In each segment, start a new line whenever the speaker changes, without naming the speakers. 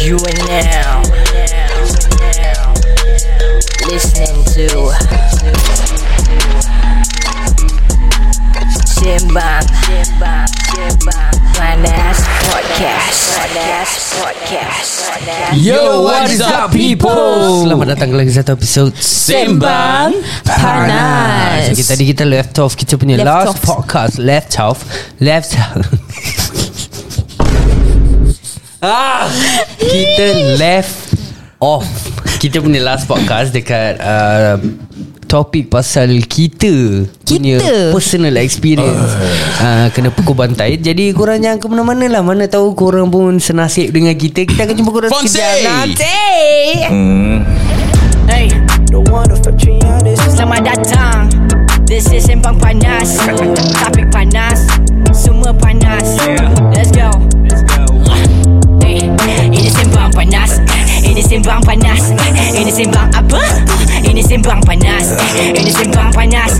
You are now listening to Simbang Panas Podcast Panas Podcast
Yo, what is up, people?
Selamat datang ke lagi satu episod
Sembang
Panas okay, Tadi kita left off Kita punya
Left
last
off.
podcast Left off Left ah, Kita left off Kita punya last podcast Dekat uh, Topik pasal kita, Punya
Kita?
personal experience uh. Kena pukul bantai Jadi korang jangan ke mana-mana lah Mana tahu korang pun senasib dengan kita Kita akan jumpa korang
Fonse!
sekejap nanti
Hmm. Hey Selamat datang This is Sembang Panas Topik panas Semua panas Let's go Hey, Ini Sembang Panas Ini Sembang Panas Ini Sembang apa? Ini Sembang Panas Ini Sembang Panas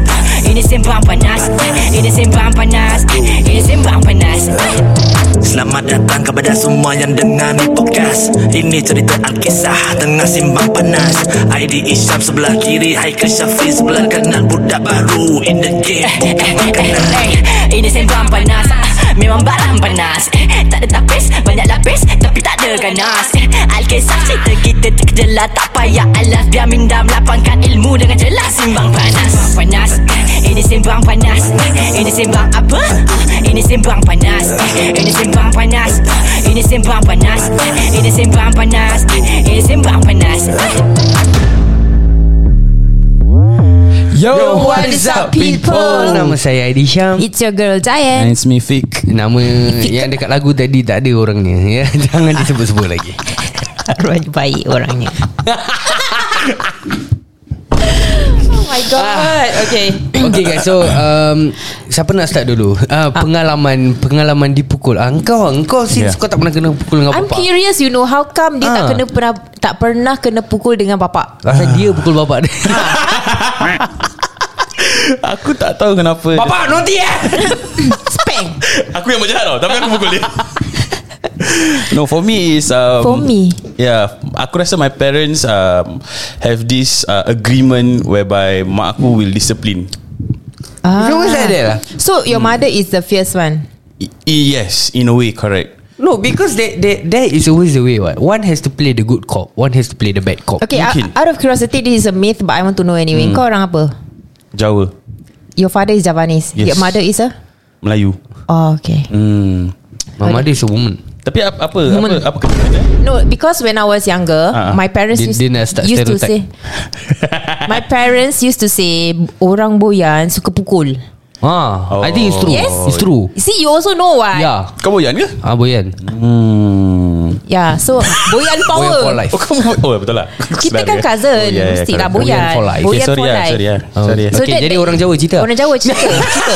Ini Sembang Panas Ini Sembang Panas Ini Sembang Panas
Selamat datang kepada semua yang dengar ni podcast Ini cerita Alkisah tengah simbang panas ID Isyam sebelah kiri Haikal Syafiq sebelah kanan Budak baru in the game
Eh, eh, eh, eh, Ini sembang panas Ah, Memang barang panas Eh, Tak ada tapis Banyak lapis Tapi tak ada ganas Eh, Alkisah cerita kita terkejelah Tak payah alas Biar minda melapangkan ilmu Dengan jelas Simbang panas Sembang panas Eh, Ini sembang panas Eh, Ini sembang apa? Ah, Ini sembang panas Eh, Ini sembang panas Ah, Ini sembang panas Eh, Ini sembang panas Eh, Ini sembang panas Eh.
Yo,
What is up people Nama saya Aidy Syam
It's your girl
And
Giant
it's me Fik
Nama yang dekat lagu tadi Tak ada orangnya ya? Jangan disebut-sebut lagi
Arwah baik orangnya Oh my god
Ah.
Okay
Okay guys So um, Siapa nak start dulu uh, Pengalaman Pengalaman dipukul ah, Engkau Engkau since
Yeah.
kau tak pernah kena pukul dengan
I'm
bapak
curious you know How come dia tak
Ah.
kena pernah Tak pernah kena pukul dengan bapak
Pasal dia pukul bapak dia
Aku tak tahu kenapa
Bapak nanti eh
Spang
Aku yang berjahat tau Tapi aku pukul dia No for me is um,
For me?
Yeah Aku rasa my parents um, Have this uh, agreement Whereby Mak aku will discipline Ah.
Kau was like that lah
So your
Hmm.
mother is the fierce one
I- Yes In a way correct
No because that, that, that is always the way what. One has to play the good cop One has to play the bad cop
Okay uh,
Mungkin.
out of curiosity This is a myth But I want to know anyway
Hmm.
Kau orang apa?
Jawa
Your father is Javanese
Yes.
Your mother is a
Melayu
Oh okay
hmm.
Mama dia is a woman
Tapi apa Apa
Woman.
Apa, apa kena eh?
No, because when I was younger, uh,
Ah.
my parents
Dia-
used,
dia nak start
used to say.
stereotype.
my parents used to say orang boyan suka pukul.
Ah, oh. I think it's true
Yes.
It's true
See, you also know why.
Ya
Kau boyan ke?
Ah Boyan
Hmm.
Yeah, so boyan
Boyan
power.
for life
Oh, kau oh betul lah
Kita
Sedar
kan
dia.
cousin,
Oh, yeah, yeah,
mesti lah
correct.
boyan.
Boyan for life.
Okay, sorry ah, sorry ah.
Oh.
Sorry ah.
So- Okay, jadi orang Jawa cerita.
Orang Jawa cerita. cerita.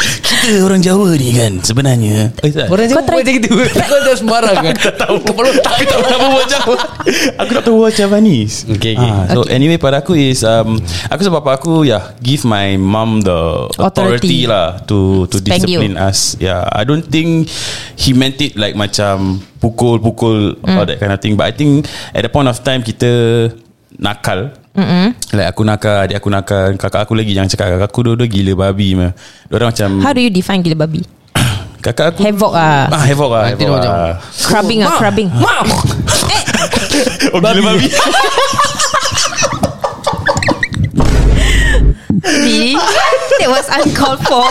Kita orang Jawa ni kan sebenarnya. Oh,
Orang
Kau
Jawa
try-
buat macam gitu Kau dah sembarang kan
tahu Kepala Aku tak tahu buat Jawa Aku tak tahu buat Javanese
Okay, okay.
Ah, So anyway pada aku is um, Aku sebab bapa aku yeah, Give my mum the authority,
Authority.
lah To to
Spank
discipline us Yeah I don't think He meant it like macam Pukul-pukul All that kind of thing But I think At the point of time kita Nakal mm-hmm. Like aku nakal Adik aku nakal Kakak aku lagi Jangan cakap kakak aku Dua-dua gila babi mah. Diorang macam
How do you define gila babi?
Kakak aku
Havoc ah.
Ah, havoc lah,
Nanti
havoc
dia
lah.
Crubbing ah, crubbing.
Mam
Oh, gila babi.
Really? That was uncalled for.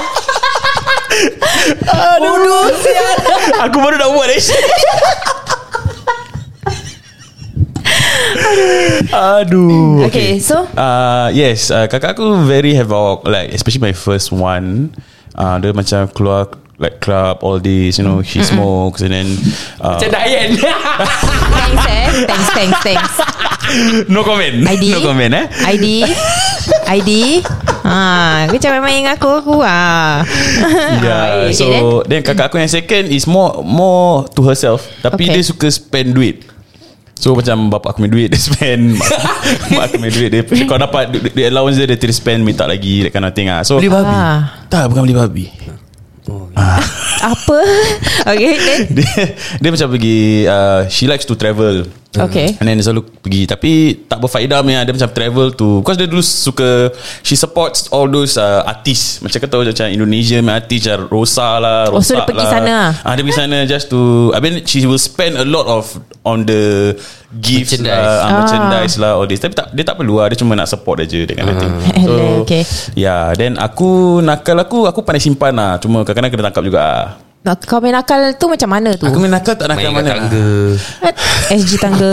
Aku baru nak buat eh Aduh
Mm, Okay, so?
uh, Yes uh, Kakak aku very havoc Like especially my first one uh, Dia macam keluar Like club All this You know She smokes And then uh,
Dayan
Thanks eh. Thanks, thanks, thanks.
No comment
ID
No comment eh
ID ID Ah, kau jangan main dengan aku Aku ah.
Yeah
Baik.
Ya, So Then kakak aku yang second Is more More to herself Tapi
Okay.
dia suka spend duit So macam bapak aku punya duit Dia spend Mak, mak aku punya duit dia, Kau
Ha.
dapat duit, duit allowance dia Dia terus spend Minta lagi That kind of thing lah ah. So
Beli babi
ah.
Tak bukan beli babi
Oh,
Apa Okay then
dia, dia macam pergi uh, She likes to travel
Okay.
And then dia selalu pergi Tapi tak berfaedah punya Dia macam travel to Because dia dulu suka She supports all those uh, artists Macam kau tahu macam Indonesia punya artist Macam Rosa lah
Oh, so dia
Rosak
pergi
lah.
sana?
ah, Dia pergi sana just to I mean she will spend a lot of On the Gifts
Merchandise.
lah, ah.
Ah.
Merchandise lah All this Tapi tak, dia tak perlu lah Dia cuma nak support aja That kind of thing So
Ah. Okay.
Yeah Then aku Nakal aku Aku pandai simpan lah Cuma kadang-kadang kena tangkap juga ah.
nak- Kau main nakal tu macam mana tu
Aku main nakal tak
Main
nakal mana
kat Ah,
lah.
tangga
SG tangga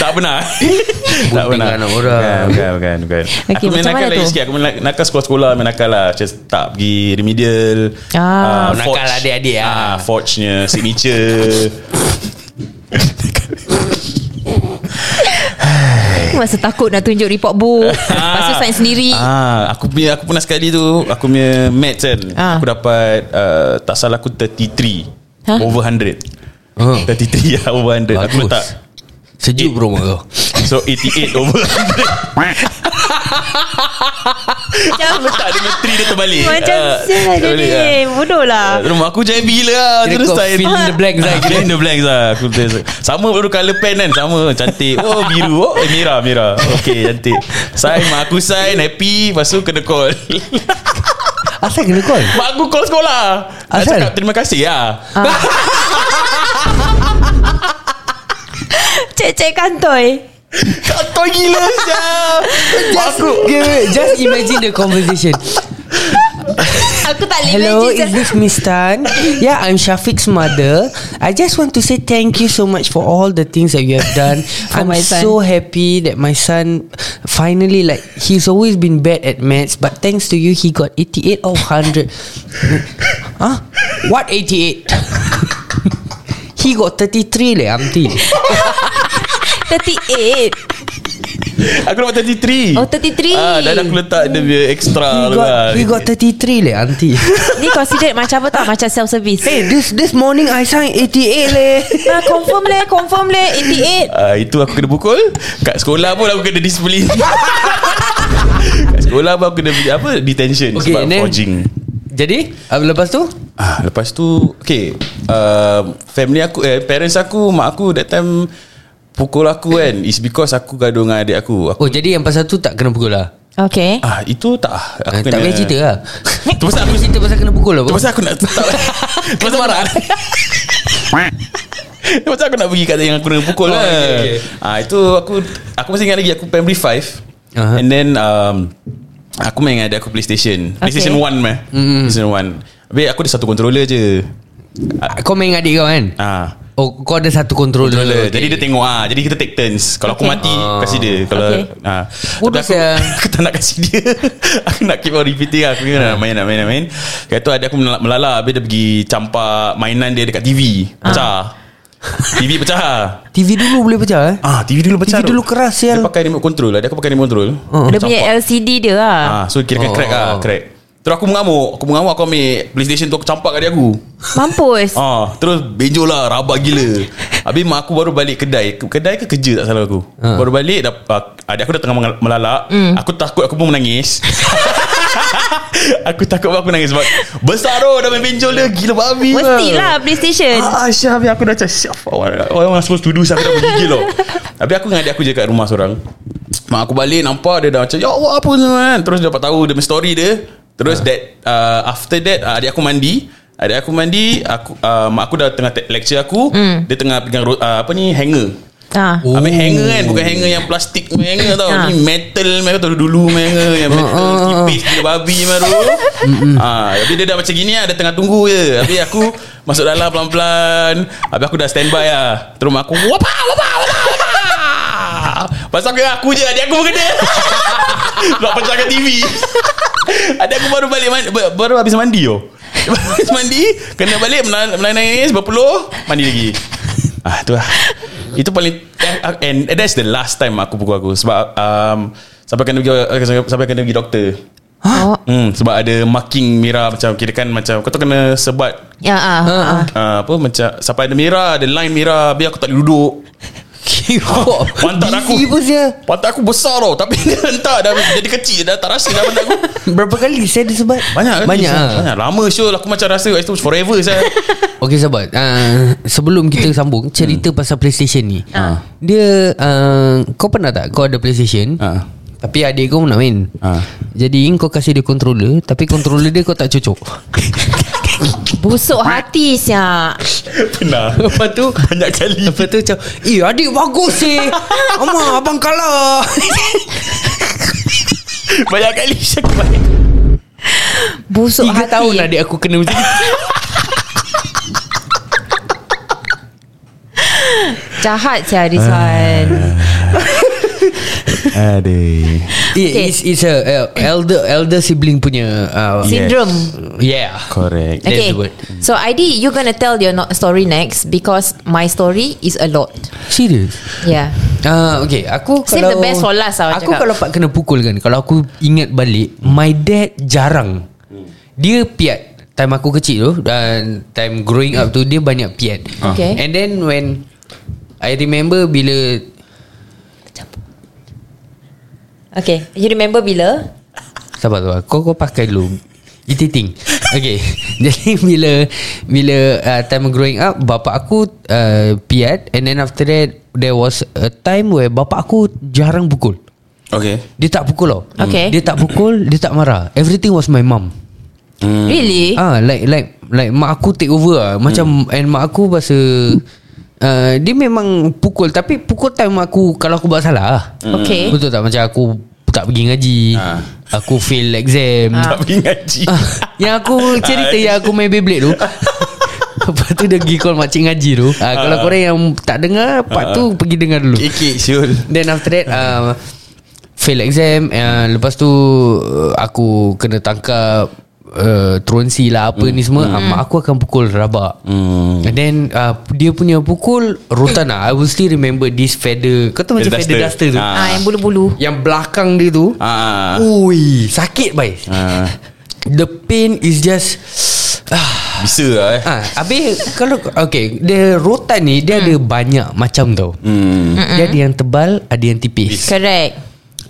Tak pernah
Eh,
Tak
Gunting anak orang.
Bukan bukan, bukan.
Okey,
Aku
macam
main nakal
mana
lain
tu?
sikit Aku main nak- nakal sekolah-sekolah Main nakal lah Macam tak pergi remedial
Ah.
ah,
Oh, nakal
forge.
adik-adik lah.
ah, Forge-nya Signature
Masa takut nak tunjuk report book Lepas tu sign sendiri
ah, Aku punya Aku pernah sekali tu Aku punya maths kan
Ah.
Aku dapat uh, Tak salah aku 33
Hah?
Over 100
Oh.
33 lah over 100 Aku
Bagus.
letak
Sejuk bro mak kau
So 88 over 100
Macam
Letak dengan 3 dia terbalik
Macam
Ah,
sial dia
terbalik lah.
ni Bodoh
Ah.
lah
Rumah aku jahit bila lah
Kira
Terus
kau
saya
fill in the blanks lah,
Ah, Fill in the blanks lah aku, terus- Sama baru colour pen kan Sama cantik Oh biru Oh eh, merah merah Okay cantik Sign mak aku sign Happy Lepas tu kena call
Asal kena call
Mak aku call sekolah Nak
Asal?
cakap terima kasih lah
Ah.
Ah.
Cek-cek kantoi
Kau toy gila siap Mak aku
Okay, wait, Just imagine the conversation
Aku tak boleh
Hello,
imagine
is this Miss Tan? Yeah, I'm Shafiq's mother. I just want to say thank you so much for all the things that you have done.
For
I'm
my son.
so happy that my son finally like he's always been bad at maths, but thanks to you he got 88 out of 100. huh? What 88? he got 33 leh, auntie.
38
Aku dapat 33
Oh, 33.
ah, Dan aku letak dia punya extra lah.
He got, he got 33 leh, auntie.
Ni considerate macam apa tau Macam self-service
hey, this this morning I signed 88 leh.
Ah, Confirm leh Confirm leh 88
Uh, itu aku kena pukul Kat sekolah pun aku kena disiplin Kat sekolah pun aku kena apa Detention okay,
Okay,
Sebab
and then-
forging
Jadi, ah, lepas tu
ah, Lepas tu Okay uh, Family aku eh, Parents aku Mak aku that time Pukul aku kan Is because aku gaduh dengan adik aku, aku
Oh jadi yang pasal tu tak kena pukul lah
Okay
Ah Itu tak ah,
Ah,
aku
Tak payah cerita lah
Itu pasal aku
Aku cerita pasal kena pukul lah
Itu pasal aku nak tak, Itu pasal marah Itu pasal aku nak pergi kat yang aku kena pukul
Oh,
lah
okay, okay.
Ah, Itu aku Aku masih ingat lagi Aku primary 5
Aha.
And then um, Aku main dengan adik aku Playstation Playstation 1 meh
Mm-hmm.
Playstation 1 Habis aku ada satu controller je
Ah, Kau main dengan adik kau kan
Ah,
Oh kau ada satu controller,
controller. Jadi dia tengok ah. Jadi kita take turns. Kalau aku
Okay.
mati kasi dia. Kalau
Okay.
ah.
Bodoh
Tapi aku,
sial.
aku tak nak kasi dia. aku nak keep on repeating lah. aku ni nak main nak main nak main. Kata tu ada aku melala- melala habis dia pergi campak mainan dia dekat TV.
Ah.
Pecah. TV pecah.
TV dulu boleh pecah eh
Ah, TV dulu pecah.
TV
tu.
dulu keras, sial.
Dia pakai remote control lah. Dia aku pakai remote control.
Dia punya LCD dia lah
Ah, so kira kan
Oh.
crack ah, crack. Terus aku mengamuk Aku mengamuk Aku ambil PlayStation tu Aku campak kat dia aku
Mampus
ah, Terus benjol lah Rabak gila Habis mak aku baru balik kedai Kedai ke kerja tak salah aku
Ha.
Baru balik dah, ah, Adik aku dah tengah mengal- melalak Aku takut aku pun menangis Aku takut pun aku nangis sebab Besar tu dah main benjol dia Gila babi lah.
Mestilah PlayStation
Ah, Syah, habis aku dah macam Syah, orang, orang orang supposed to do Syah, aku dah pergi loh Habis aku dengan adik aku je kat rumah seorang Mak aku balik, nampak dia dah macam Ya Allah, apa ni kan Terus dapat tahu dia punya story dia Terus that uh, After that, uh, adik aku mandi Adik aku mandi aku, uh, Mak aku dah tengah te- lecture aku Dia tengah pegang ro- uh, Apa ni, hanger
Ah.
Oh. Ambil hanger kan Bukan hanger yang plastik punya hanger tau
Ah.
Ni metal Mereka tahu dulu punya hanger Yang metal Tipis gila babi memang tu ha, Tapi dia dah macam gini lah Dia tengah tunggu je Habis aku Masuk dalam pelan-pelan Habis aku dah standby lah Terus mak aku Wapa wapa wapa wapa Pasal aku aku je Adik aku berkena Nak pecah kat TV Adik aku baru balik mandi, Baru habis mandi oh. Habis mandi Kena balik menan- Menangis Berpeluh Mandi lagi Ah tu lah Itu paling eh, And that's the last time Aku pukul aku Sebab um, Sampai kena pergi eh, Sampai kena pergi doktor
Oh.
hmm, Sebab ada marking merah Macam kira kan Macam kau tu kena sebat
Ya ah.
uh, Apa macam Sampai ada merah Ada line merah Biar aku tak boleh duduk
Kira
Pantat lah aku
Busy pun dia
Pantat aku besar tau Tapi dia hentak dah, Jadi kecil dah Tak rasa dah pantat aku
Berapa kali saya dia sebat
Banyak kan
Banyak
Ishan?
ah.
Banyak Lama sure Aku macam rasa Itu forever saya
Okay sahabat uh, Sebelum kita sambung Cerita pasal Playstation ni
Ah.
Dia uh, Kau pernah tak Kau ada Playstation
Ah.
Tapi adik kau nak main
Ah.
Jadi kau kasih dia controller Tapi controller dia kau tak cocok
Busuk hati siap
Pernah
Lepas tu
Banyak kali
Lepas tu macam Eh adik bagus sih Amak abang kalah
Banyak kali Ishan kemarin
Busuk
Tiga
hati
tahun lah adik aku kena macam tu
Jahat siap
Ah.
Rizwan
Aduh
Okay.
It's, it's a uh, elder elder sibling punya uh,
Syndrome
Yeah
Correct
That's
Okay
the word.
So ID You gonna tell your no- story next Because my story Is a lot
Serius
Yeah
Ah uh, okay, aku
Save
kalau
the best for last lah,
Aku
cakap.
kalau pak kena pukul kan, kalau aku ingat balik, my dad jarang. Dia piat. Time aku kecil tu dan time growing up tu dia banyak piat.
Okay.
And then when I remember bila
Okay You remember bila
Sabar tu Kau kau pakai dulu Ititing Okay Jadi bila Bila uh, Time growing up Bapak aku uh, Piat And then after that There was a time Where bapak aku Jarang pukul
Okay
Dia tak pukul tau
Okay.
Dia tak pukul Dia tak marah Everything was my mum
Really
Ah, like like like mak aku take over lah.
Hmm.
Macam and mak aku bahasa uh, dia memang pukul tapi pukul time aku kalau aku buat salah. lah.
Hmm. Okay.
Betul tak macam aku tak pergi ngaji.
Ah.
Aku fail exam.
Tak pergi ngaji
Ah, yang aku cerita yang aku main Beyblade tu. Lepas tu dia pergi call makcik ngaji tu. Ah, kalau korang yang tak dengar part tu pergi dengar dulu.
Kikik Syul
Then after that uh, Fail exam uh, Lepas tu uh, Aku kena tangkap uh, Truancy lah
Hmm.
Apa ni semua uh, Mak aku akan pukul rabak And then uh, Dia punya pukul Rotan lah I will still remember This feather Kau tahu macam feather
Feather duster.
duster tu
Ah,
Ah.
Yang bulu-bulu
Yang belakang dia tu
Ah.
Ui Sakit baik
Ah.
The pain is just ah,
Bisa lah eh
Ah, habis kalau okay, dia rotan ni dia ada banyak macam tau.
Hmm.
Dia ada yang tebal, ada yang tipis.
Correct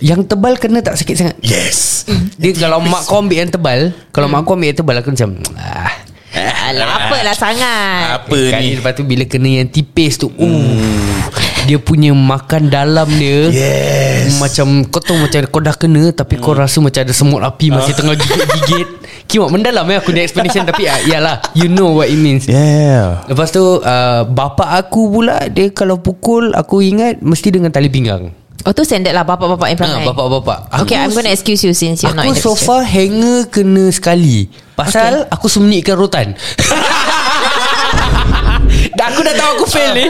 Yang tebal kena tak sakit sangat
Yes
Dia kalau mak kau ambil yang tebal Kalau mak kau ambil yang tebal Aku macam ah,
Alah apalah sangat
Apa
Kali
ni Hmm.
lepas tu bila kena yang tipis tu uh, Dia punya makan dalam dia
Yes. Hmm.
Macam kau tahu macam kau dah kena Tapi kau rasa macam ada semut
Ah.
api Masih tengah gigit-gigit Kimak mendalam ya aku ni explanation Tapi ah, iyalah You know what it means
Yeah
Lepas tu uh, Bapak aku pula Dia kalau pukul Aku ingat Mesti dengan tali pinggang
Oh tu standard lah Bapak-bapak yang perangai
Ah, Bapak-bapak
Okay I'm gonna excuse you Since you're not
Aku
in the
so
picture
far hanger kena sekali Pasal okay. aku sembunyikan rotan Dah aku dah tahu aku fail ni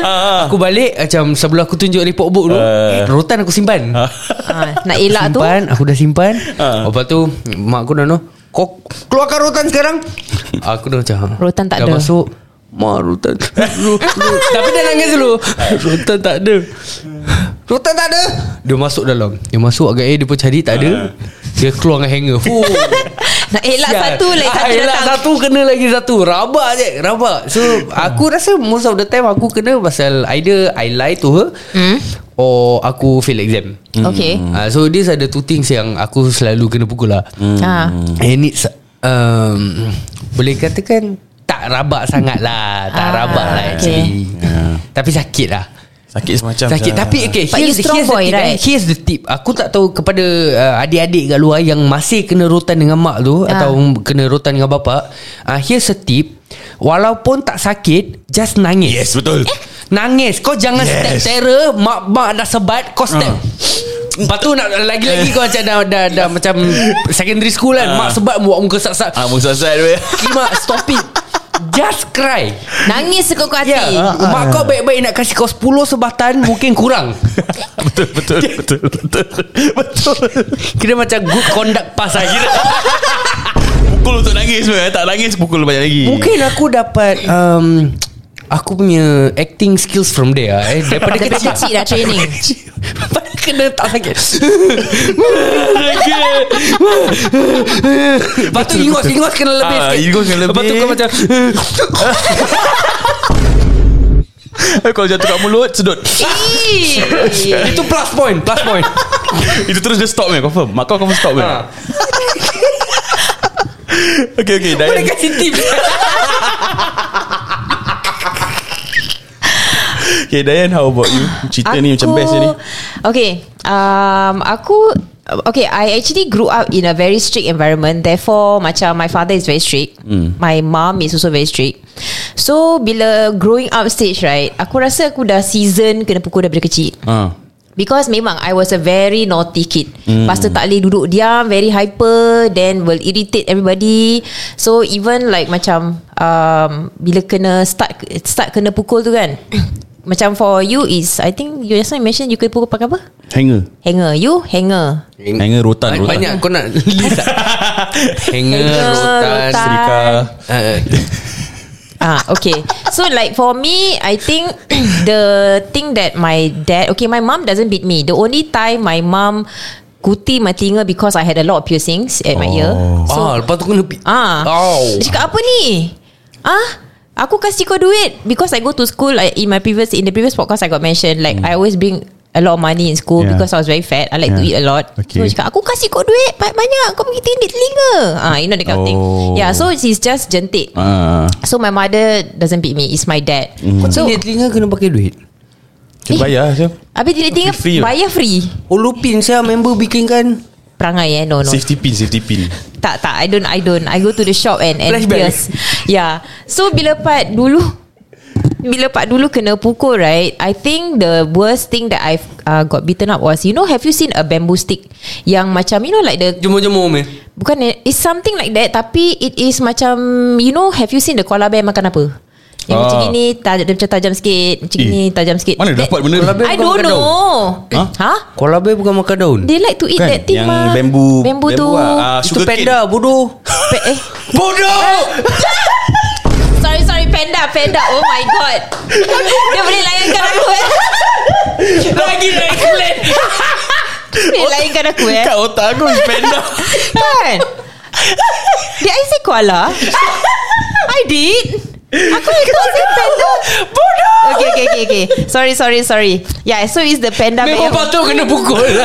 Aku balik macam sebelum aku tunjuk report book tu
Ah.
Rotan aku simpan
Ah, Nak elak tu
Simpan aku dah simpan Lepas tu mak aku dah no Kau keluarkan rotan sekarang Aku dah macam "Ha."
Rotan tak
dah
ada.
masuk Mak rotan ro- ro- Tapi dia nangis dulu Rotan tak ada Rotan tak ada Dia masuk dalam Dia masuk agak eh Dia pun cari tak ada Dia keluar dengan hanger Fuh.
Nak elak
Sial.
Lah, satu lagi
Ah,
Satu
elak
datang
satu kena lagi satu Rabak je Rabak So aku rasa Most of the time Aku kena pasal Either I lie to her
Hmm.
Or aku fail exam
Okay
uh, So these are the two things Yang aku selalu kena pukul lah
Ha.
Ah.
And it's um, Boleh katakan Tak rabak sangat lah Tak
Ah,
rabak lah
okay.
actually Tapi sakit lah
Sakit semacam
Sakit
macam-
Tapi okay
But you
here's,
strong
here's, the
boy,
tip,
right?
right? here's the tip Aku tak tahu kepada uh, Adik-adik kat luar Yang masih kena rotan dengan mak tu
Ah.
Atau kena rotan dengan bapak uh, Here's a tip Walaupun tak sakit Just nangis
Yes betul
Eh. Nangis Kau jangan yes.
Yes. Ah.
step terror Mak-mak dah sebat Kau step Lepas tu nak lagi-lagi kau macam dah, dah, dah macam secondary school kan Mak sebat buat muka sak-sak
Ah, Musa Zat weh
Mak stop it Just cry
Nangis sekuat hati
Ya yeah. Mak kau baik-baik nak kasih kau 10 sebatan Mungkin kurang
Betul betul betul betul Betul
Kira macam good conduct pass lah Kira
Pukul untuk nangis weh Tak nangis pukul banyak lagi
Mungkin aku dapat um, Aku punya acting skills from there lah, eh. Daripada
Daripada
kecil
kecil dah training
Daripada kena tak sakit lah. Lepas tu ingus Ingus kena lebih
Ah,
sikit
ingus kena
Lepas tu
lebih.
kau macam
Kalau Eh, jatuh kat mulut Sedut
Itu plus point Plus point
Itu terus dia stop meh Confirm Mak kau confirm stop meh
Ha.
Okay okay
Boleh
Dayan
kasih tips
Okay Dayan how about you Cerita ni macam best je ni
Okay um, Aku Okay I actually grew up In a very strict environment Therefore Macam my father is very strict
Hmm.
mm. My mom is also very strict So Bila growing up stage right Aku rasa aku dah season Kena pukul daripada kecil
Ah,
Because memang I was a very naughty kid mm. Lepas tu tak boleh duduk diam Very hyper Then will irritate everybody So even like macam um, Bila kena start Start kena pukul tu kan Macam for you is I think you just now mention You kena pukul pakai apa?
Hanger
Hanger You hanger
Hanger rotan, rotan.
Banyak kau nak list tak? Hanger Rotan
rotan.
Serika
uh,
Ah, okay. So like for me, I think the thing that my dad, okay, my mom doesn't beat me. The only time my mom kuti my telinga because I had a lot of piercings at my ear. So,
Ah, lepas tu kena pi-
ah,
Oh.
dia cakap apa ni? Ah, aku kasih kau duit because I go to school. I, in my previous in the previous podcast, I got mentioned like I always bring a lot of money in school
Hmm. Yeah.
yeah. because I was very fat. I like yeah. to
Yeah.
eat a lot.
Okay.
So dia cakap aku kasih kau duit banyak-banyak kau pergi tindik telinga. Ah, you know that kind of thing.
Oh.
Yeah, so she's just jentik.
Ah,
So my mother doesn't beat me It's my dad
Hmm.
mm.
So
So
Dia telinga kena pakai duit
Dia
Eh.
bayar je
Habis dia tinggal
Free
free
ke?
Bayar free
Oh Lupin saya member bikin kan
Perangai eh No no
Safety pin Safety pin
Tak tak I don't I don't I go to the shop and and
Flashback.
pierce Yeah So bila part dulu Bila part dulu kena pukul right I think the worst thing that I've uh, got beaten up was You know have you seen a bamboo stick Yang macam you know like the
Jemur-jemur meh
Bukan eh, It's something like that Tapi it is macam You know Have you seen the koala bear makan apa? Yang
Ah.
macam gini taj- Dia macam tajam sikit Macam
Eh,
gini tajam sikit
Mana
That-
dapat benda
Kalau
ni
habis-
I
bukan
don't
makan
know
Ha?
Ha?
Koala bear bukan makan daun
They like to eat
Kan,
that thing
yang
mah.
bambu-
Bambu,
bambu
tu
lah. Ah,
Itu
sugar cane.
panda bodoh
Pe- eh.
Bodoh
Sorry sorry Panda Panda Oh my god Dia boleh layankan aku eh
Lagi nak explain
Dia layankan aku eh
Kat otak aku is panda
Kan Did I say koala? I did Aku ikut say panda Bodoh Okay okay okay okay Sorry sorry sorry Yeah so it's the panda
Memang
bear.
patut kena pukul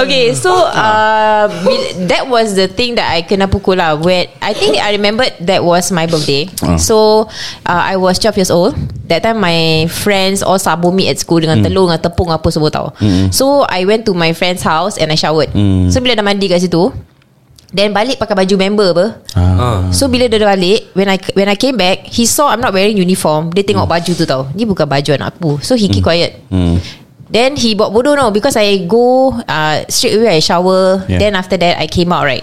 Okay so uh, bil- That was the thing That I kena pukul lah When I think I remembered That was my birthday
Ah.
So uh, I was 12 years old That time my friends All sabun mi at school
Hmm.
Dengan telur Dengan tepung Apa semua tau So I went to my friend's house And I showered
Mm.
So bila dah mandi kat situ Then balik pakai baju member apa
Ah.
So bila dia dah balik When I when I came back He saw I'm not wearing uniform Dia tengok baju tu tau Ni bukan baju anak aku So he keep quiet
Hmm.
Then he buat bodoh no Because I go uh, Straight away I shower
Yeah.
yeah. Then after that I came out right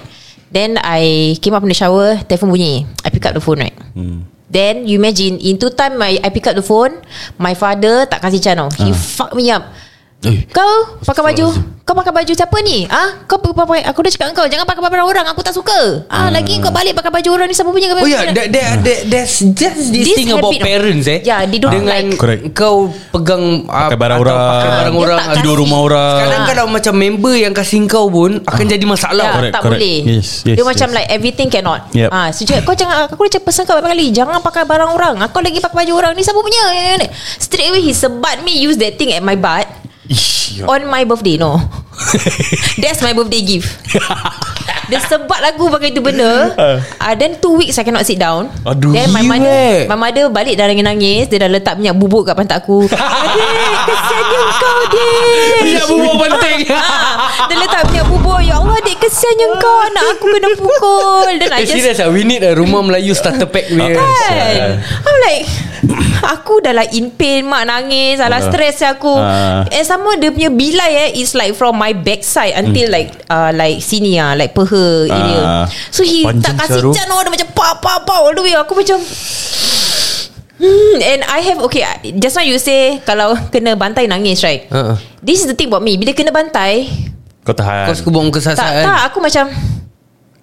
Then I came up in the shower Telephone bunyi I pick up the phone right
Hmm.
Then you imagine In two time I, I pick up the phone My father tak kasih channel He fuck me up
Eh.
Kau pakai baju Kau pakai baju siapa ni Ah, Kau pakai- pakai Aku dah cakap dengan kau Jangan pakai baju orang Aku tak suka ah, Lagi kau balik pakai baju orang ni Siapa punya kau
Oh yeah that, that, that, That's just this,
This
thing about
habit of-
parents eh
Yeah, they don't like.
Dengan
Correct.
kau pegang ah,
Pakai barang
atau
orang.
Pakai barang
Dia
orang
tak
Ah. atau-
Tidur
kasih.
rumah orang
Sekarang
Ah.
kalau macam member yang kasih kau pun Akan jadi
Ya,
masalah
Correct,
tak
correct.
boleh
Yes, yes,
Dia macam
yes.
like Everything cannot
Yep.
Ah, so, dia- Kau jangan Aku dah cakap pesan kau berapa kali Jangan pakai barang orang Aku lagi pakai baju orang Ni siapa punya Ya, Straight away He sebat me Use that thing at my butt
ya.
Ish,
On my birthday No That's my birthday gift Dia sebat lagu pakai tu benda uh, Then two weeks I cannot sit down
Ah. Aduh,
Then my
gila
mother
eh.
My mother balik dah nangis-nangis Dia dah letak minyak bubuk kat pantat aku Adik Kesiannya kau Adik
Minyak bubuk Ya, penting.
Ah, Dia letak minyak bubuk Ya Allah adik kesiannya kau Anak aku kena pukul Then I
Eh,
just
serious lah We need a rumah Melayu starter pack
Ah.
punya
Kan I'm like Aku dah lah in pain Mak nangis Alah
Ah.
stress aku
Ah.
And sama dia punya bilai eh Is like from my backside Until like uh, Like sini ah Like peha area
Ah.
So he
Panjang
tak kasih
jarum.
can oh, Dia macam pa pa pa All the way Aku macam Hmm, and I have Okay I- Just now you say Kalau kena bantai nangis right
Ah, ah.
This is the thing about me Bila kena bantai
Kau tahan
Kau suka eh? buat muka
Tak
sasaran
tak Aku macam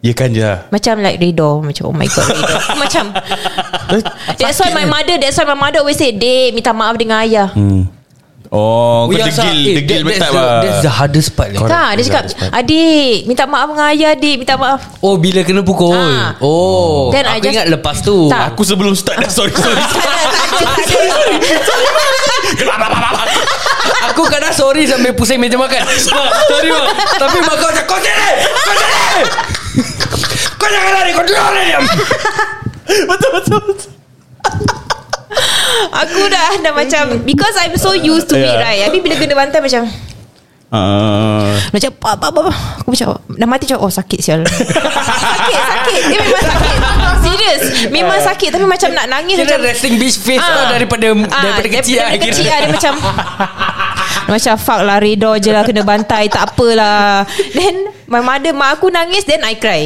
Ya kan je lah
Macam like redor Macam oh my god redor Aku macam That's why my mother That's why my mother always say Dek minta maaf dengan ayah
Hmm. Oh
We
kau
are sa- eh,
degil Degil
that- that's
betul
the-
lah
That's the hardest part lah.
Correct.
Tak dia cakap Adik Minta maaf dengan ayah adik Minta maaf
Oh bila kena pukul
Ah.
Oh
Then I
Aku
just-
ingat lepas tu
Tak.
Aku sebelum start dah Sorry sorry
Aku kadang sorry sampai pusing meja makan Mak, Sorry mak Tapi mak kau eh. macam Kau sini Kau sini Kau jangan lari Kau jangan lari
Aku dah Dah macam Because I'm so used to it
Yeah.
right Tapi bila kena bantai macam
Ah,
Macam apa apa apa Aku macam Dah mati macam Oh sakit sial Sakit sakit Dia memang sakit Serius Memang sakit Tapi macam nak nangis
Kira
macam
resting bitch face lah Daripada Daripada kecil
Ah.
lah
Daripada
kira.
kecil lah Dia macam Macam fuck lah Redor je lah Kena bantai Tak apalah Then My mother Mak aku nangis Then I cry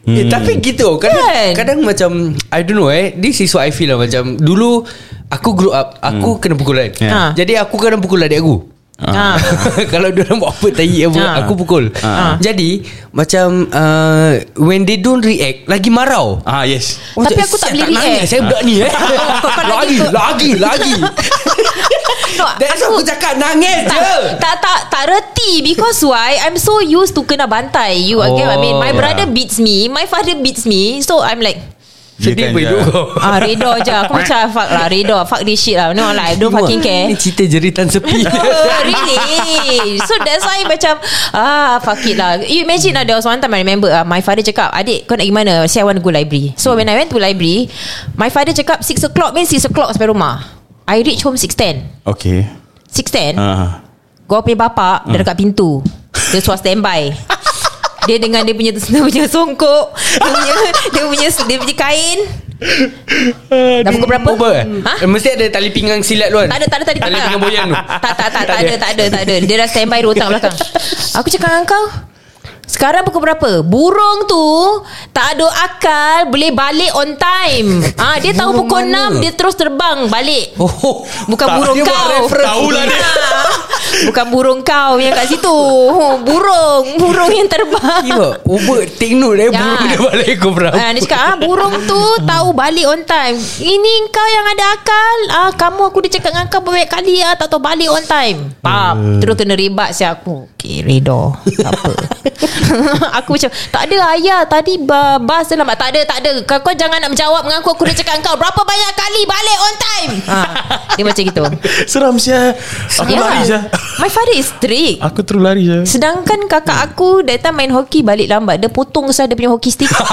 Hmm.
Eh, tapi gitu kadang,
Kan?
kadang macam I don't know eh This is what I feel lah Macam dulu Aku grow up Aku kena pukulan
Yeah. Ah.
Jadi aku kadang pukul adik aku
Ah.
Kalau dia orang buat apa tai apa
Ah.
aku pukul.
Ah.
Jadi macam uh, when they don't react lagi marau.
ah yes
Oh,
Tapi
saya-
aku tak
saya
boleh react.
nangis, Saya budak ni eh
Kau- kau
Lagi
nangis tu.
Lagi Lagi
No,
That's aku, aku cakap Nangis
tak,
je
tak tak tak reti because why I'm so used to kena bantai you oh, get what I mean my yeah.
Oh.
brother beats me my father beats me so I'm like
Sedih
Dia kan
pun hidup
dia-
kau
ah redor je aku macam fuck lah redor fuck this shit lah no like I don't fucking care
Ni cerita jeritan sepi
Oh, really So that's why macam Ah fuck it lah You imagine lah There was one time I remember uh, My father cakap Adik kau nak pergi mana I say I want to go library So when I went to library My father cakap 6 o'clock means 6 o'clock sampai rumah I reach home 6.10
Okay
6.10
ah.
Gua punya bapak Dah dekat pintu Dia suruh standby Dia dengan dia punya Dia punya songkok Dia punya Dia punya, dia punya kain Dah pukul berapa?
Over eh?
Ha?
Eh, Mesti ada tali pinggang silat tu kan
Tak ada, tak ada, tak ada.
Tali
tak ada.
pinggang boyan tu
Tak, tak, tak, tak ada, tak ada, tak ada. Dia dah standby rotak belakang. Aku cakap dengan kau, sekarang pukul berapa? Burung tu tak ada akal boleh balik on time. Ah ha, dia tahu
Burung
pukul
mana?
6 dia terus terbang balik.
Oh,
Bukan
tak,
burung
dia buat
kau.
reference.
Tahulah dia.
Ah, Bukan burung kau yang kat situ. Oh, Burung, burung yang terbang.
Gila Uber take note
Ya.
eh Burung dia balik kau berapa
Ah, dia cakap ah, Burung tu Tahu balik on time Ini kau yang ada akal ah, Kamu aku dia cakap dengan kau Banyak kali ah, Tak tahu balik on time Pam Terus kena rebat si aku Okay redor Tak apa Aku macam Tak ada ayah Tadi ba- bas dia lambat Tak ada tak ada kau, kau jangan nak menjawab dengan aku Aku dah cakap dengan kau Berapa banyak kali balik on time ah, Dia macam gitu
Seram sia Aku ya.
Yeah.
lah.
lari sia
My father is strict
Aku terus lari sia
Sedangkan
Hmm.
kakak aku That time main hoki Balik lambat Dia potong saya Dia punya hoki stick
Ya,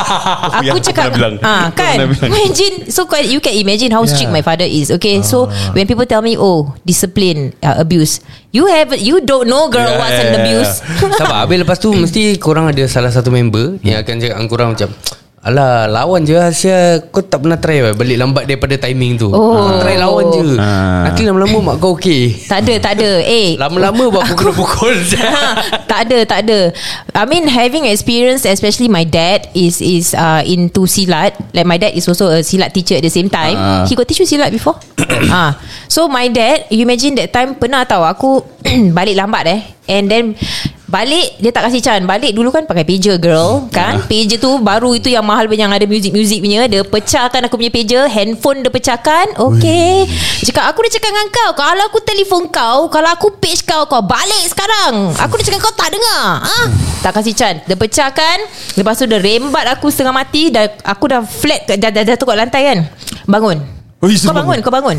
Aku
aku
cakap
pernah bilang.
ah,
Aku
Kan
pernah bilang.
Imagine So can- you can imagine How strict my father is Okay so
Ah.
When people tell me Oh discipline uh, Abuse You have You don't know girl
Yeah,
What's
yeah,
an
yeah,
abuse
Sabar Habis lepas tu Mesti korang ada Salah satu member Yang
Hmm.
akan cakap dengan korang macam Alah lawan je Asia Kau tak pernah try weh. Balik lambat daripada timing tu
Oh.
Try lawan je
Ah.
Nanti lama-lama mak kau okey
Tak ada tak ada Eh
Lama-lama buat aku kena pukul je
Ha, tak ada tak ada I mean having experience especially my dad is is uh, into silat like my dad is also a silat teacher at the same time
Ah.
he got teach you silat before ah so my dad you imagine that time pernah tahu aku balik lambat eh and then Balik Dia tak kasih can Balik dulu kan pakai pager girl Kan Pager tu Baru itu yang mahal punya Yang ada music-music punya Dia pecahkan aku punya pager Handphone dia pecahkan Okay Cakap aku dah cakap dengan kau Kalau aku telefon kau Kalau aku page kau Kau balik sekarang Aku dah cakap kau tak dengar ha? Tak kasih can Dia pecahkan Lepas tu dia rembat aku setengah mati dah, Aku dah flat kat- dah, dah, Jatuh kat lantai kan Bangun
Oh, you
Kau
suruh
bangun
bangun?
Kau bangun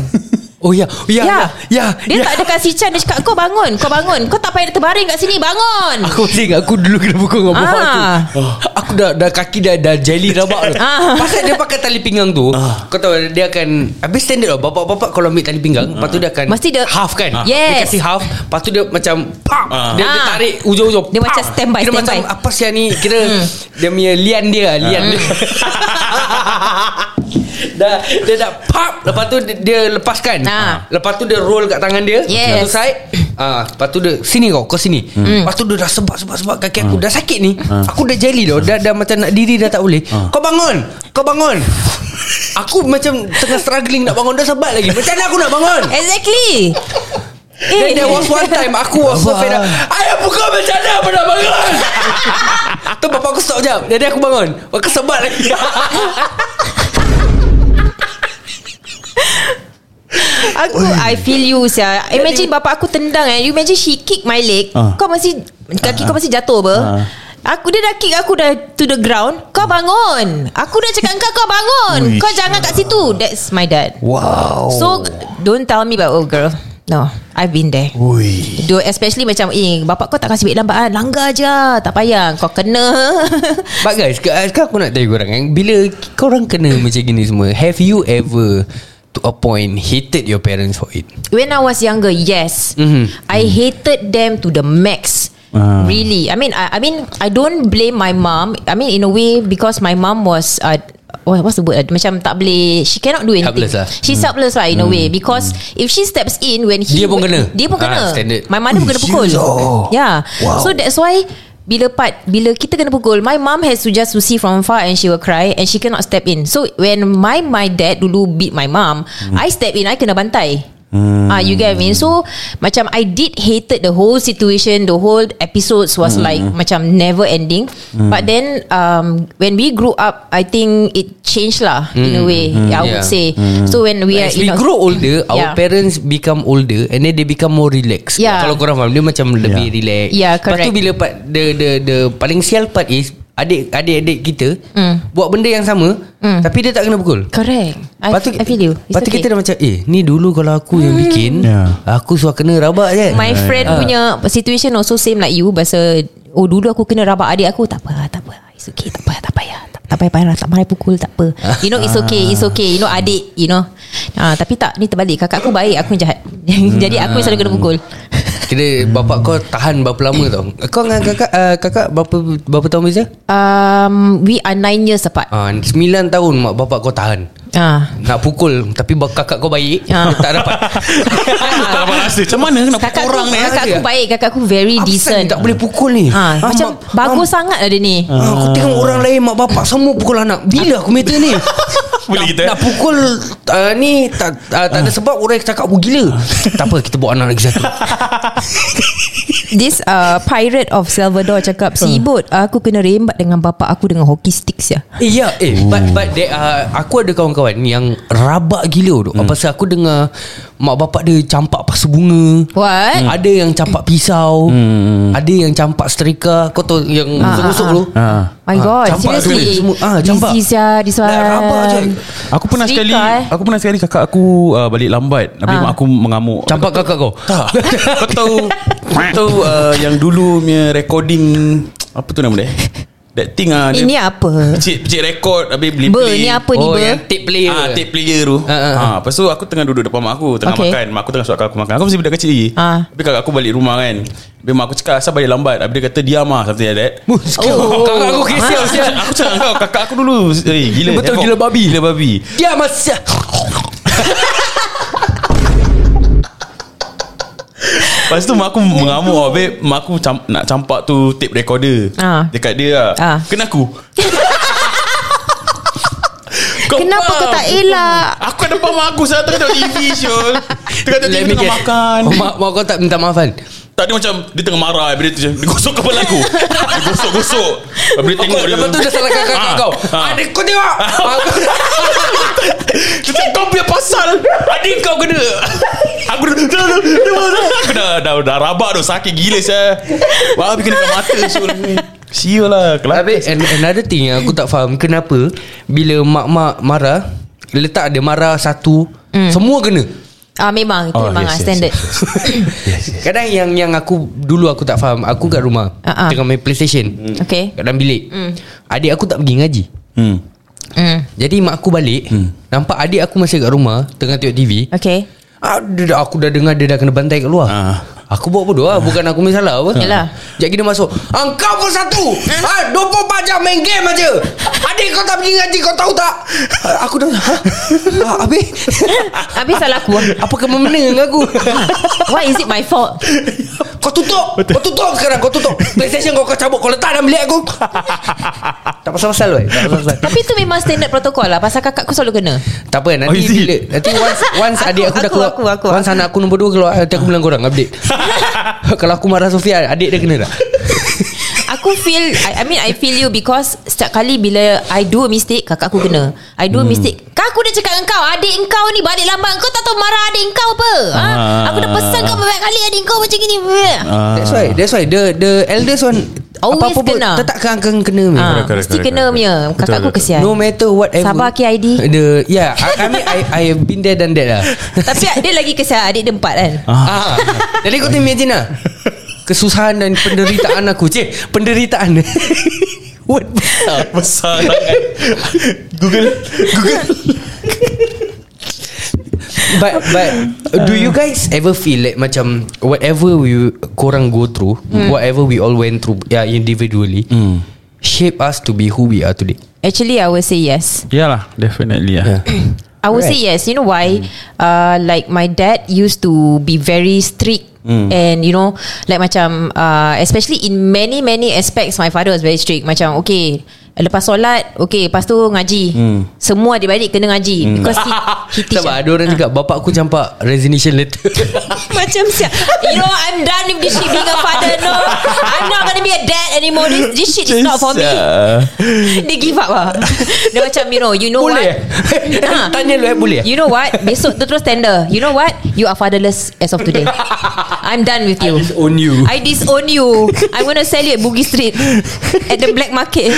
Oh ya Ya Ya, ya,
Dia
ya.
tak ada kasih can Dia cakap kau bangun Kau bangun Kau tak payah terbaring kat sini Bangun
Aku masih ingat Aku dulu kena pukul Dengan bapak
Ah.
tu Aku dah, dah Kaki dah Dah jelly rabak tu
Ah.
Pasal dia pakai tali pinggang tu Kau tahu Dia akan Habis standard lah Bapak-bapak kalau ambil tali pinggang Lepas tu dia akan
Mesti dia-
Half kan
Ah.
Dia
Yes.
kasi half Lepas tu dia macam pam,
Ah.
dia, dia
Ah.
tarik Ujung-ujung
Dia macam Hmm. stand by,
Dia
stand
macam
by.
Apa sih ni Kira Dia punya lian dia lah, Lian dia Dah, dia dah pop Lepas tu dia, dia lepaskan
Ah.
Lepas tu dia roll kat tangan dia
Yes.
Satu side Ah, lepas tu dia sini kau, kau sini. Hmm. Lepas tu dia dah sebab sebab sebab kaki aku dah sakit ni. Aku dah jeli dah, dah dah macam nak diri dah tak boleh. Kau bangun. Kau bangun. Aku macam tengah struggling nak bangun dah sebat lagi. Macam mana aku nak bangun?
Exactly Eh.
Then there was one time Aku was so fed up Ayah pukul macam mana Apa nak bangun Tu bapak aku stop jap Jadi aku bangun Aku sebat lagi
Aku I feel you sia. Imagine bapak aku tendang eh. You imagine she kick my leg.
Ah.
Kau masih kaki kau masih jatuh apa?
Ah.
Aku dia dah kick aku dah to the ground. Kau bangun. Aku dah cakap kau kau bangun.
Ui,
Kau jangan kat situ. That's my dad.
Oh.
Wow.
So don't tell me about old girl. No, I've been there.
Ui.
Do especially macam eh bapak kau tak kasi duit lambat kan. Langgar je. Tak payah kau kena.
But guys ke- Sekarang aku nak tanya korang kan Bila korang kena macam gini semua Have you ever To a point Hated your parents for it
When I was younger, yes,
Mhm.
I hated them to the max.
Ah.
Really, I mean, I, I mean, I don't blame my mom. I mean, in a way, because my mom was. Uh, what- What's the word Macam tak boleh She cannot do anything
Helpless lah. Hmm.
She's helpless lah in a way Because If she steps in When he
Dia pun kena.
Dia pun
Ah,
kena
standard. Oh.
My mother pun kena pukul Ya. Yeah
Wow.
So that's why Bila part Bila kita kena pukul My mom has to just To see from far And she will cry And she cannot step in So when my my dad Dulu beat my mom
Hmm.
I step in I kena bantai Ah, you get what I mean. So macam I did hated the whole situation, the whole episodes was
Hmm.
like macam never ending. But then um when we grew up, I think it changed lah in a way. I would
Hmm. Yeah.
say.
Hmm.
So when we are
As we
in Aus-
grow older Our
Mm. Yeah.
parents become older And then they become more relaxed
Yeah.
Kalau korang faham Dia macam lebih relax
Yeah,
Lepas tu
correct.
bila part, the, the, the Paling sial part is Adik Adik-adik kita
Mm.
Buat benda yang sama Tapi dia tak kena pukul
Correct. Mm. I, Lepas I feel you. It's
Lepas tu
okay. Mm.
kita dah macam Eh ni dulu kalau aku yang bikin
Yeah.
Aku suka kena rabak je
My friend
Ah.
punya situation also same like you Bahasa Oh dulu aku kena rabak adik aku Tak apa tak apa It's okay tak apa tak payah Tak, tak payah payah Tak marah pukul tak apa You know it's okay It's okay You know adik You know ah, Tapi tak ni terbalik Kakak aku baik Aku yang jahat Jadi aku yang selalu kena pukul
Kira bapak kau tahan berapa lama tau Kau dengan kakak uh, Kakak berapa berapa tahun beza?
um, We are nine years apart
Uh, 9 tahun mak bapak kau tahan
Ah,
Nak pukul Tapi bak- kakak kau baik
Ah.
Tak dapat
Tak dapat rasa Macam mana nak
Kakak
pukul orang
aku,
ni
kakak aku baik Kakak aku very
Apa pasal
decent
ni Tak boleh pukul ni
Ah, Macam
mak-
bagus sangat lah dia ni
Ah, Aku tengok orang lain Mak bapak semua pukul anak Bila aku meter ni
Boleh
Nak-
kita, eh?
Nak pukul uh, Ni tak, uh, tak ada sebab Orang cakap aku gila Ah. Tak apa kita buat anak lagi satu
This uh, pirate of Salvador cakap Sibut aku kena rembat dengan bapak aku Dengan hockey stick ya
Eh ya eh but but there are, aku ada kawan-kawan yang rabak gila tu. Hmm. Pasal aku dengar mak bapak dia campak pasu bunga.
What?
Hmm. Ada yang campak pisau. Hmm. Ada yang campak strika. Kau tahu yang usuk-usuk tu.
Ah.
My God
Ah, campak
Seriously
tu semua. Ah, campak.
Busy sia This one
Like, rabak je.
Aku pernah
Serika,
sekali
eh.
Aku pernah sekali kakak aku uh, Balik lambat Habis
Ah.
mak aku mengamuk
Campak kakak kau.
Tak Kau tahu Kau tahu uh, Yang dulu punya recording Apa tu nama dia That thing ah
Ini Eh, apa
Pecik, pecik rekod Habis beli
Ber,
play
ni apa ni,
oh,
ber?
yang tape player.
Ah, tape player tu.
Ah, ah,
Ha, lepas tu aku tengah duduk depan mak aku, tengah
Okay.
okay. makan. Mak aku tengah suapkan aku makan. Aku masih budak kecil lagi.
Ah.
Tapi kakak aku balik rumah kan. Habis mak aku cakap asal balik lambat. Habis dia kata diam ah something like that.
Oh.
Kakak aku kisah usia.
Aku cakap- Aku cakap dengan kau kakak aku dulu. Eh, gila.
Ah. Betul,
havoc.
gila babi.
Gila babi.
Dia masih
Lepas tu mak aku mengamuk Habis mak aku cam, nak campak tu tape recorder
Ah.
Dekat dia lah
Ah.
Kena aku
Kenapa kau
faham?
tak elak
Aku ada depan mak aku Saya tengah tengok TV Syul Tengah tengok TV tengah makan
Oh, mak, mak kau tak minta kan? maafan.
Tak dia macam Dia tengah marah Habis dia, macam- dia gosok kepala aku Dia gosok-gosok Habis dia
Kau,
tengok dia
lepas tu dia salah kakak
Ah,
kau.
ah.
Adik kau tengok. Mak kau-
Dia cakap kau punya pasal Adik kau kena Aku dah dah, dah, dah, dah, Aku dah Dah, dah rabak tu Sakit gila saya Wah habis kena kat mata Syul Sial lah kelakar.
Habis and, another thing yang aku tak faham Kenapa Bila mak-mak marah Letak ada marah satu
Hmm.
mm. Semua kena
Ah memang Itu
Oh,
memang
yes,
ah,
yes,
standard
Kadang yang yang aku Dulu aku tak faham Aku kat rumah
Ah, ah.
Tengah main playstation
Okay Hmm.
Kat dalam bilik Adik aku tak pergi ngaji
Hmm.
mm.
Jadi mak aku balik Nampak adik aku masih kat rumah Tengah tengok TV
Okay
ah, dia, dah- Aku dah dengar dia dah kena bantai kat luar
Ah.
Aku buat bodoh lah Bukan aku punya salah apa
Yalah.
Sekejap kita masuk ah, Kau pun satu ha, 24 jam main game aja Adik kau tak pergi ngaji Kau tahu tak Ah, Aku dah ha? ah, Habis
Habis salah aku
Apa kemana dengan aku
Why is it my fault
Kau tutup Betul. Kau tutup sekarang Kau tutup Playstation kau kau cabut Kau letak dalam bilik aku Tak pasal-pasal weh Tak pasal-pasal
Tapi tu memang standard protokol lah Pasal kakakku selalu kena
tak apa nanti
Oh,
oh,
is it?
bila nanti once once
Aku,
adik aku, dah
aku,
keluar
aku, aku,
once
aku.
anak aku nombor 2 keluar nanti aku bilang korang update. Kalau aku marah Sofia adik dia kena tak?
Aku feel
Hmm.
I, I mean I feel you Because Setiap kali bila I do a mistake Kakak aku kena I do a mistake Kau Aku dah cakap dengan kau Adik kau ni balik lambat Kau tak tahu marah adik kau apa ha?
Ah.
Aku dah pesan kau banyak kali Adik kau macam gini
Ah.
That's why That's why The the eldest one
Always
Apa-apa pun
kena.
Tetap kena kena
ha.
ha.
Mesti
correct, correct,
kena
correct.
punya
Betul,
Kakak aku
betul.
kesian
No matter whatever
ya. Sabar, KID.
The Yeah I, I mean I, I have been there done that lah
Tapi dia lagi kesian Adik dia empat kan
ah. Jadi kau tu imagine lah Kesusahan dan penderitaan aku Cik Penderitaan What
Besar sangat Google Google
But but Do you guys ever feel like Macam Whatever we Korang go through
Hmm.
Whatever we all went through Yeah individually Shape us to be who we are today
Actually I will say yes
Yalah Definitely
Ya.
lah
I would
Right.
say yes. You know
Hmm.
why? Uh, like my dad used to be very strict.
Hmm.
And you know Like macam uh, Especially in many many aspects My father was very strict Macam okay Lepas solat Okay Lepas tu ngaji
Hmm.
Semua adik-adik kena ngaji Because he, he teach
Sebab ada orang cakap Bapak aku campak Resignation letter
Macam siap You know I'm done with this shit Being a father No I'm not gonna be a dad anymore This, this shit is not for me Dia give up lah Dia macam you know You know
ah. Boleh
what
eh?
Ah.
Tanya lu eh boleh eh?
You know what Besok tu terus tender You know what You are fatherless As of today I'm done with you
Own you
I disown you I'm gonna sell you At Boogie Street At the black market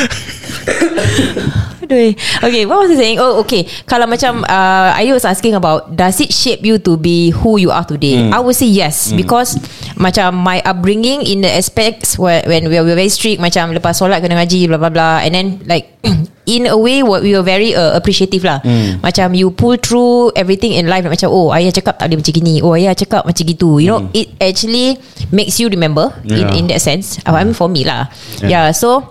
Aduh Okay what was I saying Oh okay Kalau macam uh, I was asking about Does it shape you to be Who you are today I would say yes Because Macam my upbringing In the aspects where, When we were very strict Macam lepas solat Kena ngaji blah blah blah And then like In a way what We were very uh, appreciative lah Macam you pull through Everything in life Macam oh ayah cakap Tak boleh macam gini Oh ayah cakap macam gitu You know It actually Makes you remember
Yeah.
In, in that sense I mean for me lah
Yeah.
yeah so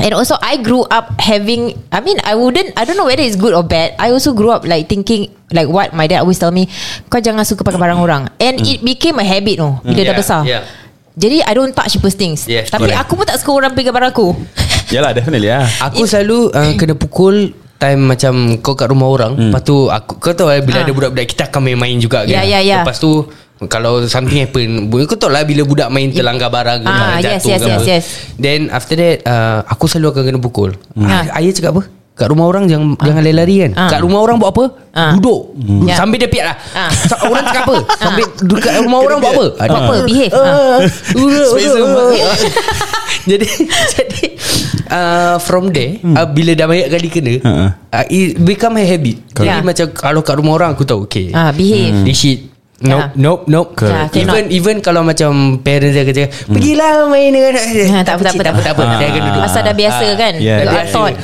And also I grew up having I mean I wouldn't I don't know whether it's good or bad I also grew up like thinking Like what my dad always tell me Kau jangan suka pakai barang orang And
Mm.
it became a habit no Bila dah
Yeah,
besar
yeah.
Jadi I don't touch people's things
Yes,
Tapi
correct.
aku pun tak suka orang pegang barang aku
Yalah definitely lah
Aku selalu
Mm.
uh, kena pukul Time macam kau kat rumah orang hmm. Lepas tu aku, Kau tahu lah
Ah.
bila ada budak-budak Kita akan main-main juga kan?
Ya, ya, ya.
Lepas tu Kalau something happen bu- Kau tahu lah bila budak main Terlanggar barang ke
Ah, yes, yes,
jatuh ke
yes,
apa.
yes.
Then after that uh, Aku selalu akan kena pukul
Ah.
ah. Ayah cakap apa? Kat rumah orang jangan jangan lari-lari kan.
Ah.
Kat rumah orang buat apa?
Ah.
Duduk.
Ya.
Sambil dia piat lah.
Ah.
Sa- Orang cakap apa? Sambil duduk kat rumah orang buat apa?
Buat apa behave ha.
Ah. jadi jadi uh, from there hmm. uh, bila dah banyak kali kena
Ha.
uh, it become a habit. Jadi
Correct.
macam kalau kat rumah orang aku tahu okay.
Ah, behave.
Mm. Hmm.
This shit Nope,
Ah.
nope, nope.
Correct. Yeah,
even even kalau macam parents dia kerja,
Hmm.
pergilah main dengan anak dia.
Ha, tak apa, tak apa, tak apa, tak apa.
Cik, Dia akan duduk. Ah.
Pasal dah biasa kan
Ah. yeah,
You
dah
are
biasa.
taught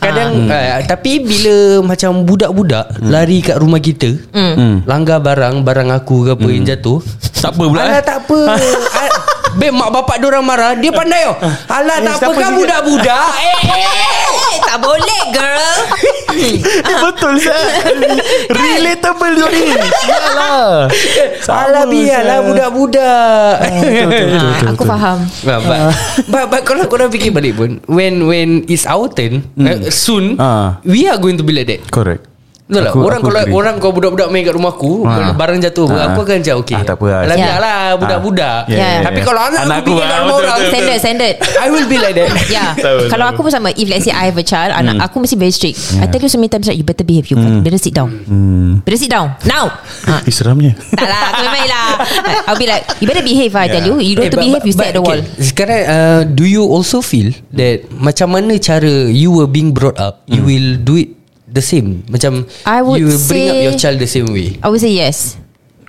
Kadang
Ah.
uh, Tapi bila Macam budak-budak
Hmm.
Lari kat rumah kita
Hmm.
Langgar barang Barang aku ke apa Yang
Hmm.
jatuh
Tak apa pula,
Alah
eh.
tak apa Al- Beb mak bapak dorang marah Dia pandai oh Alah tak apa
Ah. Eh, siapa
kan
juga?
budak-budak Eh
Eh, tak boleh girl
Betul sah Relatable tu ni Yalah
Alah
lah,
biarlah budak-budak
Ah, Aku faham
But,
Ah.
but, but, but kalau korang fikir balik pun When when it's our turn uh, Soon
Hmm. Ah.
We are going to be like that
Correct
Betul lah
Aku-
Orang
aku
kalau
agree.
orang kau budak-budak main kat rumah aku
Ha.
Barang jatuh apa
Ha.
Aku akan macam okay
Ah, tak apa lah.
Alah
Ya.
biarlah Budak-budak
Ya,
ya, ya.
Tapi kalau anak,
Anak
aku
aku
fikir kat
lah,
rumah
betul,
orang
betul,
Standard standard
I will be like that
Yeah
Tahu,
Ya. Kalau
tahu.
aku pun sama If let's say I have a child Anak
Hmm.
aku mesti very strict I tell you so many times like, You better behave You better sit down
Hmm.
Better sit down Now ha,
Eh seramnya
Tak lah Aku memang lah I'll be like You better behave I tell you You don't
Eh,
to
but-
behave You
but-
stay at the
but-
wall
okay. Sekarang uh, Do you also feel That Macam mana cara You were being brought up You will do it The same Macam
I would
You will bring up
say-
your child the same way
I would say yes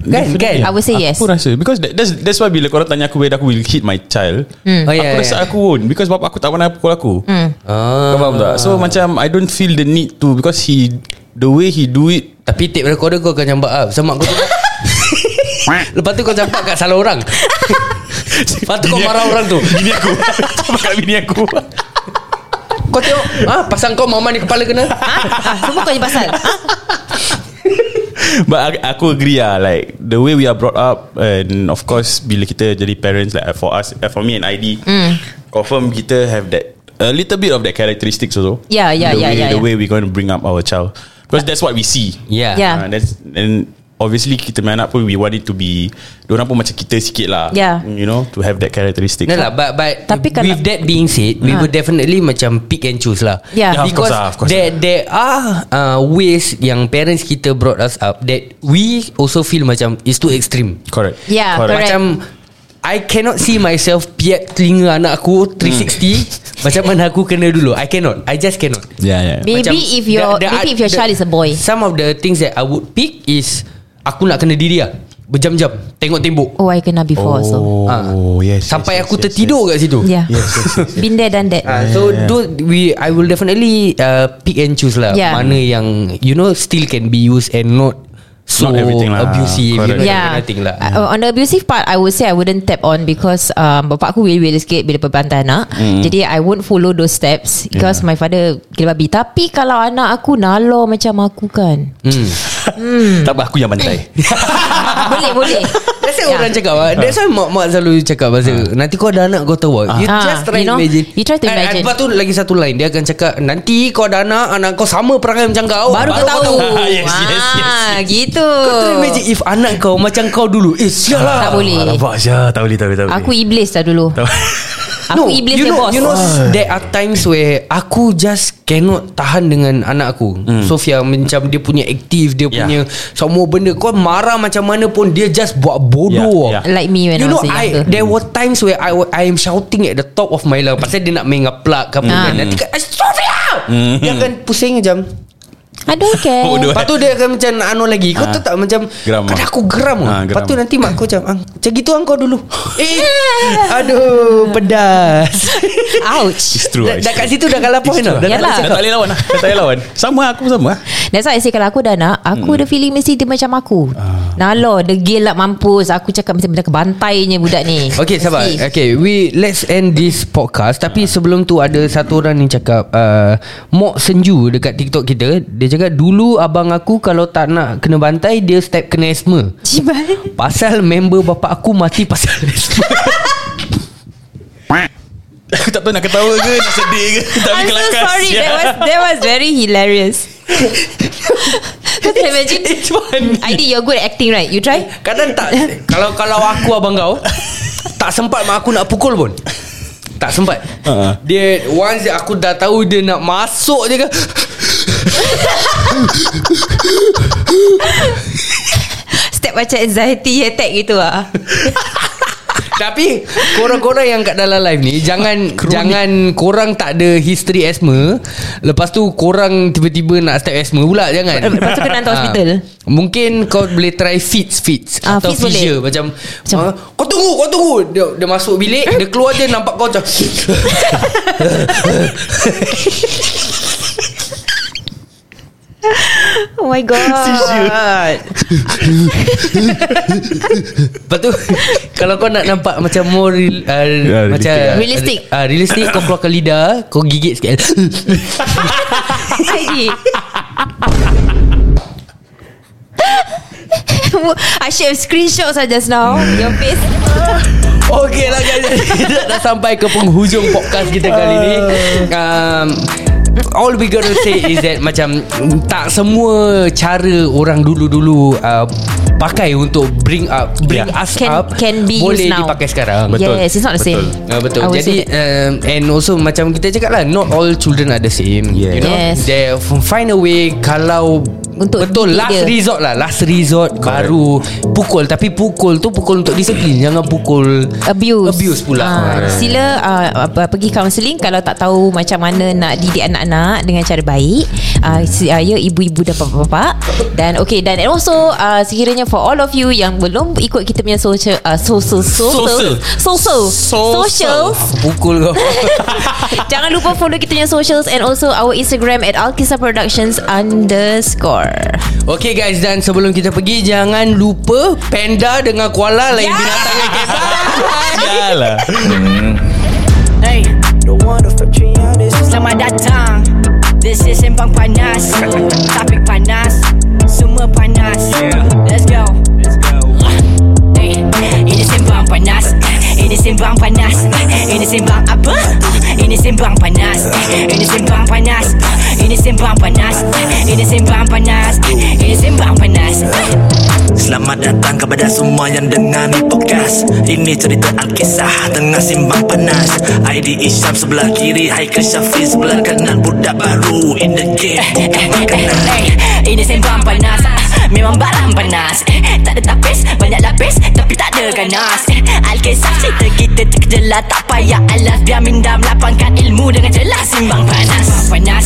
Kan kan
I would say yes
Aku rasa Because that, that's, that's why Bila korang tanya aku Whether aku will hit my child
Hmm.
Oh,
Aku
yeah,
rasa
yeah.
aku won't Because bapak aku tak pernah pukul aku
Ah.
Kau faham tak Ah. So macam I don't feel the need to Because he The way he do it
Tapi tape recorder kau akan campak up Sama aku tu Lepas tu kau campak kat salah orang Lepas tu kau
Bini
marah
aku-
orang tu
Bini aku Cakap kat bini aku
Kau tengok ah, Pasang kau mama ni kepala kena
ha? ha? Semua kau ni pasal ha?
But aku- aku agree lah Like The way we are brought up And of course Bila kita jadi parents Like for us uh, For me and ID
Mm.
Confirm kita have that A little bit of that characteristics also
Yeah, yeah, yeah, yeah,
the way, The
yeah.
Ya.
Ya.
way we going to bring up our child Because that's what we see
Yeah.
Yeah.
Uh, that's, and obviously kita punya anak pun we want it to be orang pun macam kita sikit lah
Yeah.
you know to have that characteristic
No lah But, but
Tapi
Tapi
kalau-
With that being said We
Ah.
would definitely Macam pick and choose lah
Yeah. Yeah, of
Because
course lah, of course
there, there are uh, Ways Yang parents kita Brought us up That we Also feel macam It's too extreme
correct
Yeah, correct.
Macam I cannot see myself Piat telinga anak aku 360 Macam mana aku kena dulu I cannot I just cannot
yeah yeah
Maybe
Macam
if your maybe if your
the-
child is a boy.
Some of the things that I would pick is Aku nak kena diri lah Berjam-jam Tengok tembok
Oh, I kena before also.
oh yes
Sampai
yes,
aku
yes,
tertidur kat situ
Yeah.
yes, yes, yes, yes.
Been there done that.
Ah, so those we I will definitely uh, pick and choose lah
Yeah.
mana yang you know still can be used and not so
Not everything lah.
abusive you
Correct.
know,
Yeah.
that kind of thing lah.
Uh, on the abusive part, I would say I wouldn't tap on because um, bapak aku will-will sikit bila perbantai anak. Mm. Jadi I won't follow those steps because yeah. my father gila babi. Tapi kalau anak aku nalo macam aku kan.
Hmm. tak apa aku yang pandai
Ah, boleh, boleh. Ya.
That's why orang cakap ah. That's why mak-mak selalu cakap pasal
Ah.
Nanti kau ada anak kau tahu ah. You
Ah.
just try
You know,
imagine
you try to
And- and
imagine.
Lepas tu lagi satu line Dia akan cakap Nanti kau ada anak Anak kau sama perangai macam kau
Baru, kau tahu.
Yes, yes, yes,
Ah, gitu.
"Oh, Kau try imagine if anak kau macam kau dulu Eh sial
Ah,
lah
Ah, Tak boleh.
nampak Syah tak boleh tak boleh tak
Aku iblis dah dulu. Aku
no,
iblis
you
dia
know,
bos.
You know There are times where Aku just cannot Tahan dengan anak aku mm. Sofia macam Dia punya aktif Dia
Hmm. Yeah.
yeah. punya Semua benda Kau marah macam mana pun Dia just buat bodoh
Yeah,
yeah,
yeah.
yeah.
Like me when
you
I
know,
was
I,
younger.
There were times where I, wa- I am shouting at the top of my lungs Pasal dia nak main dengan plug ke apa
Mm.
kan. Nanti kan "Eh, Sofia
Hmm.
mm. Dia akan pusing macam
I don't care.
Bodoh.
Lepas tu dia akan macam Anu lagi Kau
Ah.
tahu tak macam
Geram
Kadang
ah.
aku geram, ah.
Ah,
Lepas
geram.
tu nanti mak aku macam "Ang, Macam gitu angkau dulu Eh Aduh Pedas
Ouch.
It's true
Dah,
it's
dah kat
true.
situ dah kalah point tau.
Yalah.
Dah kalah
Dah
cakap.
tak boleh lawan lah Dah tak boleh lawan Sama aku pun sama lah
That's why I say Kalau aku dah nak Aku ada feeling Mesti dia macam aku Nalo Degil lah mampus Aku cakap macam Benda kebantainya budak ni
Okay sabar Eh.
Mesti.
Okay we Let's end this podcast Tapi sebelum tu Ada satu orang ni cakap uh, Mok Senju Dekat TikTok kita Dia cakap Dulu abang aku Kalau tak nak kena bantai Dia step kena asthma
Cibai
Pasal member bapak aku Mati pasal asthma
Aku tak tahu nak ketawa ke Nak sedih ke Tak
I'm
boleh
so
kelakas ya.
sorry That was that was very hilarious Kau tak imagine
It's funny.
Aidi you're good at acting right You try
Kadang tak Kalau kalau aku abang kau Tak sempat mak aku nak pukul pun Tak sempat
Ha.
Dia Once dia- aku dah tahu Dia nak masuk je kan
Step macam anxiety attack gitu ah.
Tapi Korang-korang yang kat dalam live ni Jangan Jangan Korang tak ada history asthma Lepas tu korang Tiba-tiba nak step asthma pula Jangan
Eh, Lepas tu kena hantar
Ah.
hospital.
Mungkin kau boleh try fits Fits
Ah,
Atau
fits boleh.
fissure Macam,
Macam-
ah, Kau tunggu Kau tunggu dia, dia masuk bilik Dia keluar je Nampak kau macam
Oh my god
Lepas tu Kalau kau nak nampak Macam more real, uh,
Ya,
Macam
realistic.
uh, Realistic Kau keluarkan lidah Kau gigit sikit
Aidi I should have screenshots ah just now Your face
Okay lah guys Kita dah sampai ke penghujung podcast kita kali ni um, All we gotta say is that Macam Tak semua cara orang dulu-dulu uh, Pakai untuk bring up Bring
Yeah.
us
Can-
up
can be
Boleh
used now.
dipakai sekarang
Betul.
Yes it's not the same
Betul.
Ah, betul.
I would say
Jadi
that.
um, and also macam kita cakap lah not all children are the same.
Yeah.
You know,
Yes.
they f- find a way kalau
Untuk
betul
didik
last
dia.
resort lah, last resort
Correct.
baru pukul tapi pukul tu pukul untuk disiplin, jangan pukul
abuse
abuse pula.
Ah, sila uh, apa, pergi counselling kalau tak tahu macam mana nak didik anak-anak dengan cara baik uh, saya ibu-ibu dan bapa-bapa dan okay dan and also uh, sekiranya for all of you yang belum ikut kita punya social uh, social social social social
Aku pukul kau.
jangan lupa follow kita punya socials and also our Instagram at Alkisa Productions underscore
okay guys dan sebelum kita pergi jangan lupa panda dengan koala lain
Yeah.
binatang yang kisah.
Yalah
Hey,
The one of Fabrianis
selamat datang This is Sembang Panas Topik panas Semua panas
Yeah.
Let's go
Let's go
Hey, ini Sembang Panas Ini Sembang Panas Ini Sembang apa? Ini Sembang Panas Ini Sembang Panas Ini Ini sembang panas Ini sembang panas Ini sembang panas
Selamat datang kepada semua yang dengar ni podcast Ini cerita Alkisah tengah simbang panas ID Isyam sebelah kiri Haikal Syafiq sebelah kanan Budak baru in the game bukan makanan
Eh, Ini sembang panas Ah, Memang barang panas Eh, Tak ada tapis Banyak lapis Tapi tak ada ganas Eh, Alkisah cerita kita terkejelah Tak payah alas Biar minda melapangkan ilmu Dengan jelas Simbang panas Sembang panas